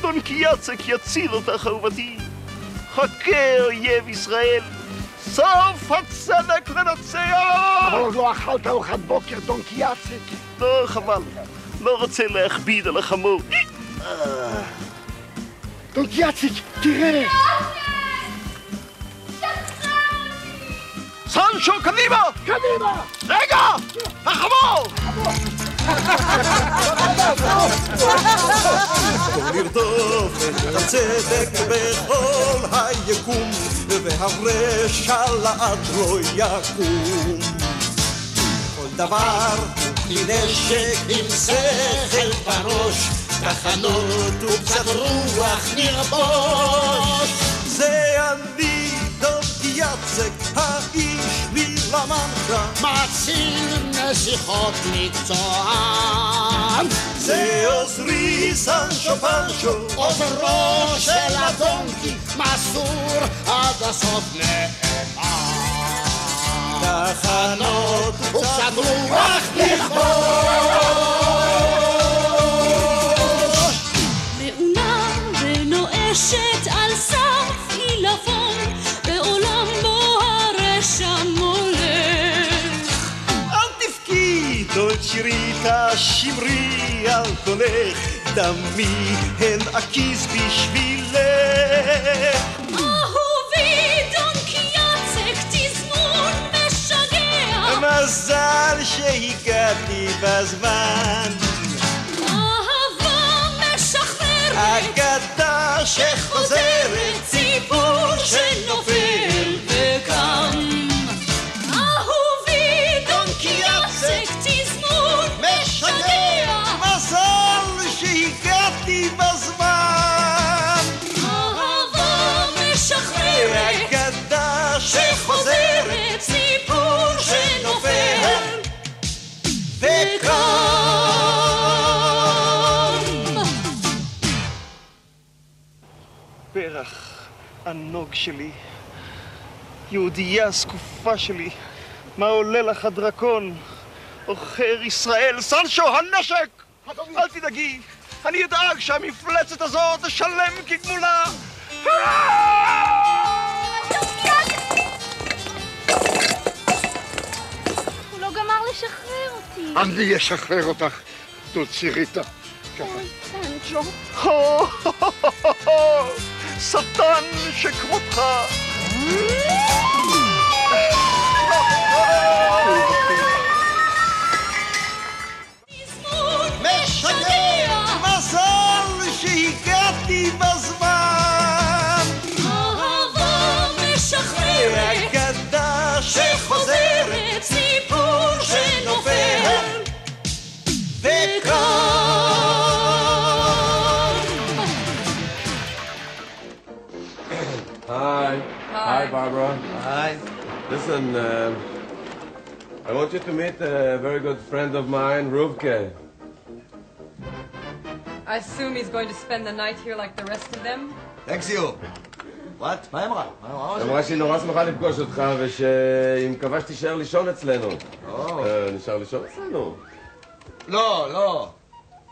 דון קיאצק יציל אותך אהובתי. חכה אויב ישראל, סוף הצדק לנצח! אבל עוד לא אכלת ארוחת בוקר, דון קיאצק. לא, חבל. לא רוצה להכביד על החמור. דון קיאצק, תראה! סנצ'ו, קדימה! קדימה! רגע! החמור!
בואו נרדוף את הצדק בכל היקום, והרשע לעד לא יקום. כל דבר הוא כלי נשק עם שכל בראש, תחנות וקצת רוח נרבוש. זה אני, דוד יצק, האיש מלמנקה, מציל נסיכות מקצוען. זה עוזרי סנצ'ו פנצ'ו,
עוברו של הדונקי, מסור עד הסוף נאמן. תחנות וקצת רוח לכבוש.
מעונה ונואשת על סף עילבון, בעולמו הרשע מולך.
אל תבכי, דוד שיריתה, שמרי על קולך, דמי הן אקיז בשבילך.
אהובי דון קיאצק, תזמון משגע.
מזל שהגעתי בזמן.
אהבה משחררת.
אגדה שחוזרת, ציפור שנופל וקם.
אהובי דון קיאצק, תזמון משגע.
מזל שהגעתי בזמן.
אהבה משחררת.
אגדה שחוזרת, ציפור שנופל וקם.
פרח, הנוג שלי, יהודייה זקופה שלי, מה עולה לך הדרקון? עוכר ישראל, סנצ'ו, הנשק! אל תדאגי, אני אדאג שהמפלצת הזו תשלם כגמולה!
הוא לא גמר לשחרר אותי.
אני אשחרר אותך, תוציא ריטה.
סנג'ו.
הו, הו, הו, הו, הו, שטן שכמותך!
משגע! מזל שהגעתי בזמן!
אהבה משחררת.
אגדה שחוזרת, סיפור שנופל וקם!
Hi.
Hi.
Barbara. Hi. Listen, uh, I want you to meet a very good friend of mine, Ruvke.
I assume he's going to spend the night here like the rest of them?
Thanks you.
וואט? מה היא אמרה? מה היא אמרה?
היא אמרה שהיא נורא שמחה לפגוש אותך ושהיא מקווה שתישאר לישון אצלנו. אה, נשאר לישון אצלנו.
לא, לא.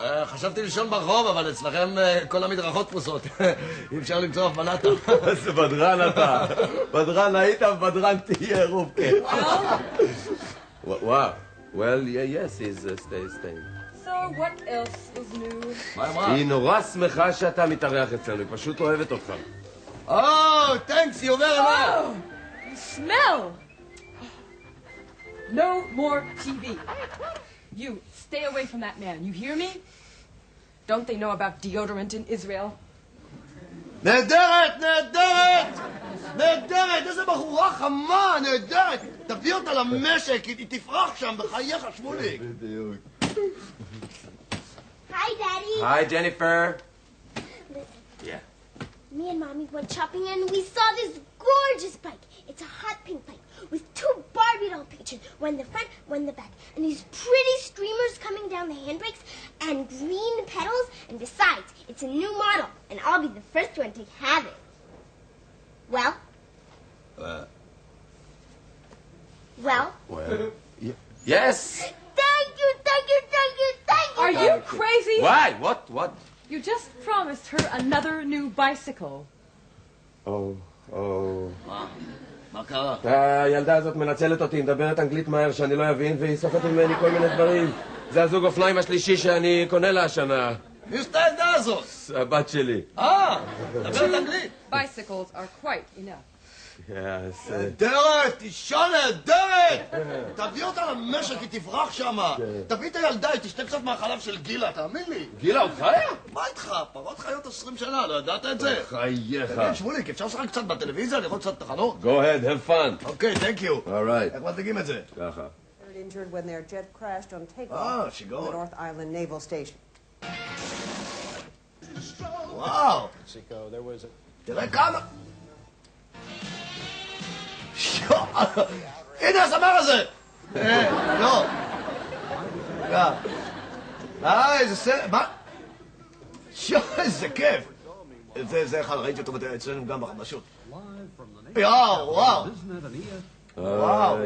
אה, חשבתי לישון ברחוב, אבל אצלכם אה, כל המדרכות פרוסות. אי אפשר למצוא אף בלטה.
איזה בדרן אתה. בדרן היית, בדרן תהיה רובקה. וואו. Well, yeah, yes, he's uh, stay, staying.
So what else is new?
היא נורא שמחה שאתה מתארח אצלנו, היא פשוט אוהבת אותך.
Oh, thanks, you very much.
You smell! No more TV. You, stay away from that man. You hear me? Don't they know about deodorant in Israel?
נהדרת, נהדרת! נהדרת! איזה בחורה חמה, נהדרת! תביא אותה למשק, היא היא תפרח שם, בחייך, שמוליק.
בדיוק.
Hi, Daddy.
היי, ג'ניפר.
Me and Mommy went shopping and we saw this gorgeous bike. It's a hot pink bike with two Barbie doll pictures, one in the front, one in the back, and these pretty streamers coming down the handbrakes and green pedals. And besides, it's a new model, and I'll be the first one to have it. Well, well.
Well, y- yes.
Thank you, thank you, thank you, thank you.
Are you crazy?
Why? What? What?
You just promised her another new bicycle.
או, או.
מה קרה?
oh. הילדה הזאת מנצלת אותי, היא מדברת אנגלית מהר שאני לא אבין, והיא סוחטת ממני כל מיני דברים. זה הזוג אופניים השלישי שאני קונה לה השנה.
מי זאת הילדה הזאת?
הבת שלי.
אה,
Two
מדברת אנגלית.
bicycles are quite enough.
יס.
נהדרת, אישה נהדרת! תביא אותה למשק, היא תברח שמה.
כן.
תביא את הילדה, היא תשתה קצת מהחלב של גילה, תאמין לי.
גילה, עוד חיה?
מה איתך? פרות חיות 20 שנה, לא ידעת את זה?
בחייך.
תגיד, שמוליק, אפשר לשחק קצת בטלוויזיה, לראות קצת תחנות?
Go ahead, have fun.
אוקיי, thank you.
Alright.
איך מדליקים את זה?
ככה.
injured when their jet crashed on
Ah,
takeoff
she
from
gone.
the North Island Naval Station.
וואו! תראה כמה... שו, הנה הזמר הזה! אה, לא. רגע. אה, איזה סרט, מה? שו, איזה כיף! זה, זה אחד, ראיתי אותו אצלנו גם בחדשות. יואו, וואו! וואו!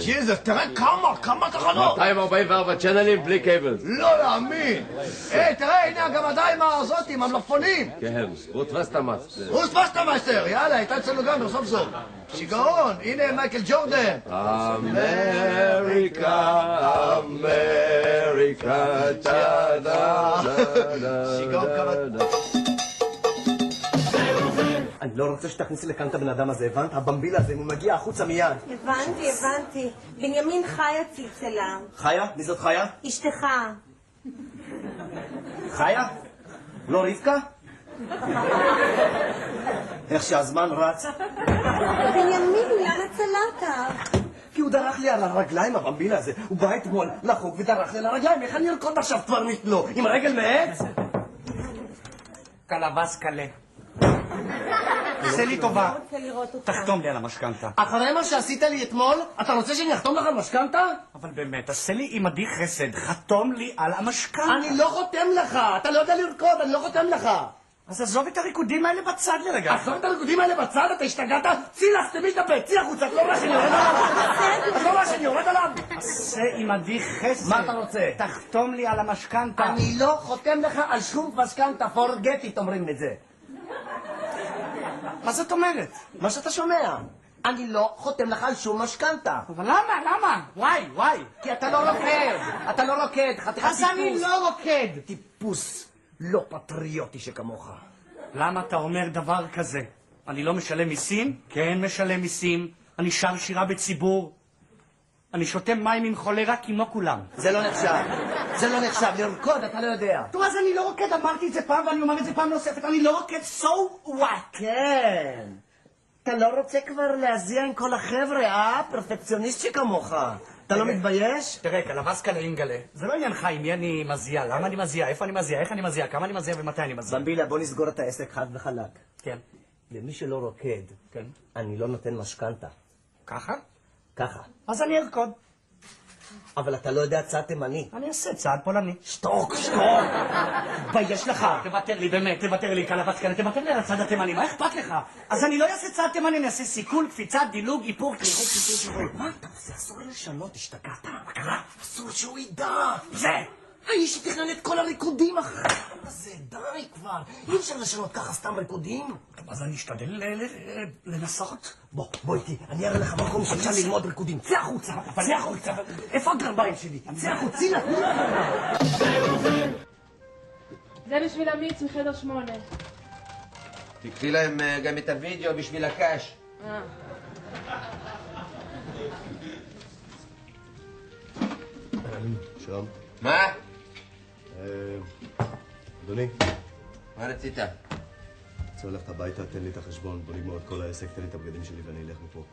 שיזה, תראה כמה, כמה תחנות!
244 צ'אנלים בלי קייבל.
לא להאמין! היי, תראה, הנה גם עדיין מה הזאת, עם המלפפונים!
כן, רות וסטמאס.
רוס פסטמאסטר, יאללה, הייתה אצלנו גם בסוף סוף. שיגעון, הנה מייקל ג'ורדן.
אמריקה, אמריקה, טה דה דה דה דה דה
אני לא רוצה שתכניסי לכאן את הבן אדם הזה, הבנת? הבמביל הזה, אם הוא מגיע החוצה מיד. הבנתי, הבנתי. בנימין חיה צלצלה. חיה? מי זאת חיה? אשתך. חיה? לא רבקה? איך שהזמן רץ. בנימין, למה צלעת? כי הוא דרך לי על הרגליים, הבמביל הזה. הוא בא אתמול לחוג ודרך לי על הרגליים. איך אני ארקוד עכשיו כבר לו? עם רגל מעץ?
קלבס קלה.
עשה לי טובה.
תחתום לי על המשכנתה.
אחרי מה שעשית לי אתמול, אתה רוצה שאני אחתום לך על משכנתה?
אבל באמת, עשה לי עמדי חסד, חתום לי על המשכנתה.
אני לא חותם לך! אתה לא יודע לרקוד, אני לא חותם לך!
אז עזוב את הריקודים האלה בצד לרגע.
עזוב את הריקודים האלה בצד, אתה השתגעת? צאי לך, סתמי את הפה, צאי החוצה, את לא רואה שאני יורד עליו? את לא רואה שאני יורד עליו?
עשה עמדי חסד.
מה אתה רוצה?
תחתום לי על המשכנתה.
אני לא חותם לך על שום משכנתה, forget it אומרים את זה. מה זאת אומרת? מה שאתה שומע. אני לא חותם לך על שום משכנתה. אבל למה? למה? וואי, וואי. כי אתה לא רוקד. אתה לא רוקד, חתיכת טיפוס.
אז אני לא
רוקד. טיפוס לא פטריוטי שכמוך.
למה אתה אומר דבר כזה? אני לא משלם מיסים? כן משלם מיסים. אני שר שירה בציבור. אני שותה מים עם חולרה כמו כולם.
זה לא נחשב. זה לא נחשב. לרקוד אתה לא יודע.
נו, אז אני לא רוקד, אמרתי את זה פעם ואני אומר את זה פעם נוספת. אני לא רוקד, so what?
כן. אתה לא רוצה כבר להזיע עם כל החבר'ה, אה? פרפקציוניסט שכמוך. אתה לא מתבייש?
תראה, קלבס קלאינגלה. זה לא עניינך עם מי אני מזיע, למה אני מזיע, איפה אני מזיע, איך אני מזיע, כמה אני מזיע ומתי אני מזיע.
במבילה, בוא נסגור את העסק חד וחלק.
כן.
למי שלא רוקד, אני לא נותן משכנתה.
ככה?
ככה.
אז אני ארקוד.
אבל אתה לא יודע צעד תימני.
אני אעשה צעד פולני.
שתוק, שתוק. תתבייש לך.
תוותר לי, באמת, תוותר לי, קלה וסקנה, תוותר לי על הצד התימני, מה אכפת לך? אז אני לא אעשה צעד תימני, אני אעשה סיכול, קפיצה, דילוג, איפור, קליחות, קיצור, קיצור.
מה אתה עושה? אסור לו לשנות, השתגעת? מה קרה? אסור שהוא ידע.
זה!
האיש שתכנן את כל הריקודים אחרי זה, די כבר. אי אפשר לשנות ככה סתם ריקודים.
טוב, אז אני אשתדל ל- ל- לנסות.
בוא, בוא איתי, אני אראה לך מקום שאפשר ללמוד ריקודים. צא החוצה, צא החוצה. איפה הגרביים שלי?
לא-
צא החוצה, הנה, תנו לה גרביים.
זה בשביל אמיץ מחדר שמונה.
תקחי להם אה, גם את הוידאו בשביל הקש.
אה.
שלום.
מה?
אה, אדוני,
מה רצית?
רוצה ללכת הביתה, תן לי את החשבון, בוא נגמור את כל העסק, תן לי את הבגדים שלי ואני אלך מפה.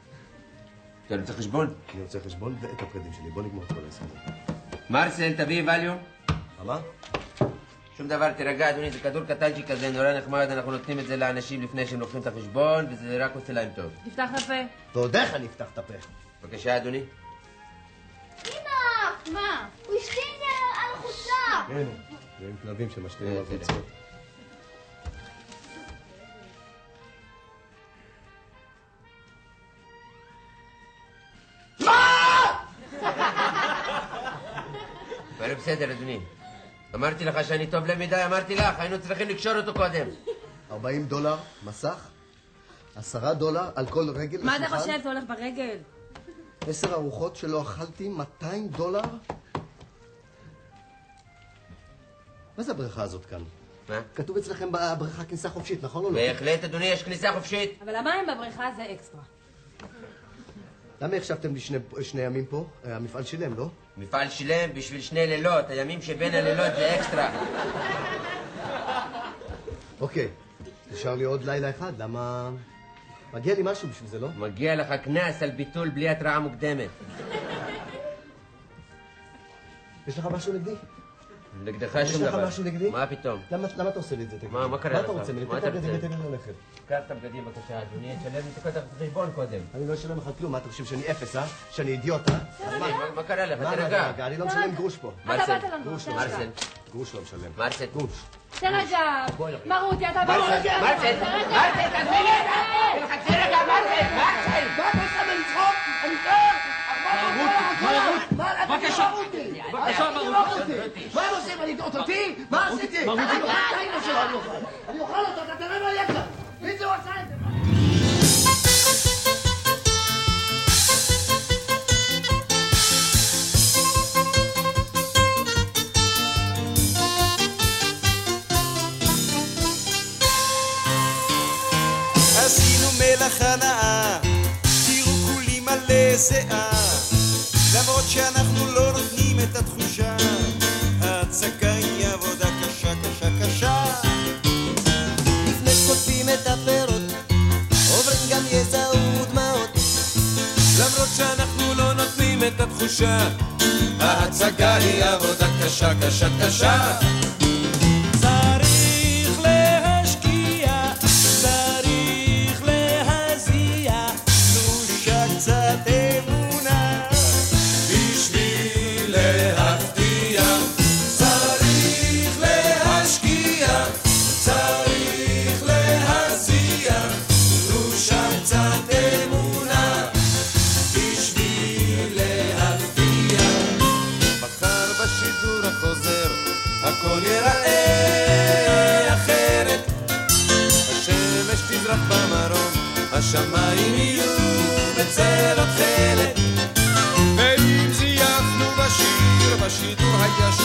אתה רוצה חשבון?
אני רוצה חשבון ואת הבגדים שלי, בוא נגמור את כל העסק הזה.
מרסל, תביא ווליום.
מה?
שום דבר, תירגע, אדוני, זה כדור קטנצ'י כזה, נורא נחמד, אנחנו נותנים את זה לאנשים לפני שהם לוקחים את החשבון, וזה רק עושה להם טוב.
תפתח את הפה.
ועוד איך אני אפתח את הפה.
בבקשה, אדוני.
אמא! מה? הוא השתין על החוצה!
כן, זה עם כלבים
כן,
שמשתינים על חוצות.
אבל בסדר, אדוני. אמרתי לך שאני טוב לב מדי, אמרתי לך, היינו צריכים לקשור אותו קודם.
40 דולר מסך, 10 דולר על כל רגל.
מה אתה
לשולחן,
חושב? אתה הולך ברגל?
10 ארוחות שלא אכלתי, 200 דולר. מה זה הבריכה הזאת כאן?
מה?
כתוב אצלכם בבריכה כניסה חופשית, נכון או לא?
בהחלט, אדוני, יש כניסה חופשית.
אבל המים בבריכה זה אקסטרה.
למה החשבתם לי שני, שני ימים פה? אה, המפעל שילם, לא?
מפעל שלם בשביל שני לילות, הימים שבין הלילות זה אקסטרה.
אוקיי, נשאר לי עוד לילה אחד, למה... מגיע לי משהו בשביל זה, לא?
מגיע לך קנס על ביטול בלי התראה מוקדמת.
יש לך משהו נגדי?
נגדך
יש
שום
לך
דבר.
משהו נגדי?
מה פתאום?
למה, למה אתה עושה לי את זה? תגיד?
מה, מה קרה
מה
לך?
אתה רוצה? ממני?
מה
תן את
אתה
הבגדים
רוצה?
ותן לי ללכת.
קח את הבגדים בבקשה, אדוני, תשלם את כל החשבון קודם.
אני לא אשלם לך כלום, מה אתה חושב שאני אפס, אה? שאני אידיוט, אה? אז מה?
מה- מה קרה לך?
מה, מה,
תירגע.
רגע, אני לא משלם גרוש פה.
מרסל,
אתה באת לנו,
גרוש לא
תירגע.
משלם.
גרוש לא משלם.
מרסל.
גרוש.
תירגע, מרותי, אתה
מרסל, מרסל, מרסל, תזמיני את
תירגע, מרסל, מרסל! מה אתה עושה בלצחוק? אני
בבקשה.
בבקשה, מרותי.
מה הם עושים? אני אותי?
מה עשיתי?
מרותי.
אני אוכל את האימא שלו, אני אוכל. אני אוכל אותו, אתה תראה מה יהיה כאן. מי זה הוא עשה את זה?
עשינו מלאכה נאה, תראו כולי מלא שיער. למרות שאנחנו לא נותנים את התחושה, ההצגה היא עבודה קשה, קשה, קשה.
לפני שקוטפים את הפירות, עוברים גם יזע ודמעות.
למרות שאנחנו לא נותנים את התחושה, ההצגה היא עבודה קשה, קשה, קשה.
צריך להשקיע, צריך להזיע,
דרושה קצת אמונה, בשביל להפתיע. צריך להשקיע, צריך להזיע, דרושה קצת אמונה, בשביל להפתיע. מחר בשידור החוזר, הכל ייראה אחרת. השמש תזרח במרום, השמיים יהיו בצל התכלת. ואם זייפנו בשיר, בשידור הישיר e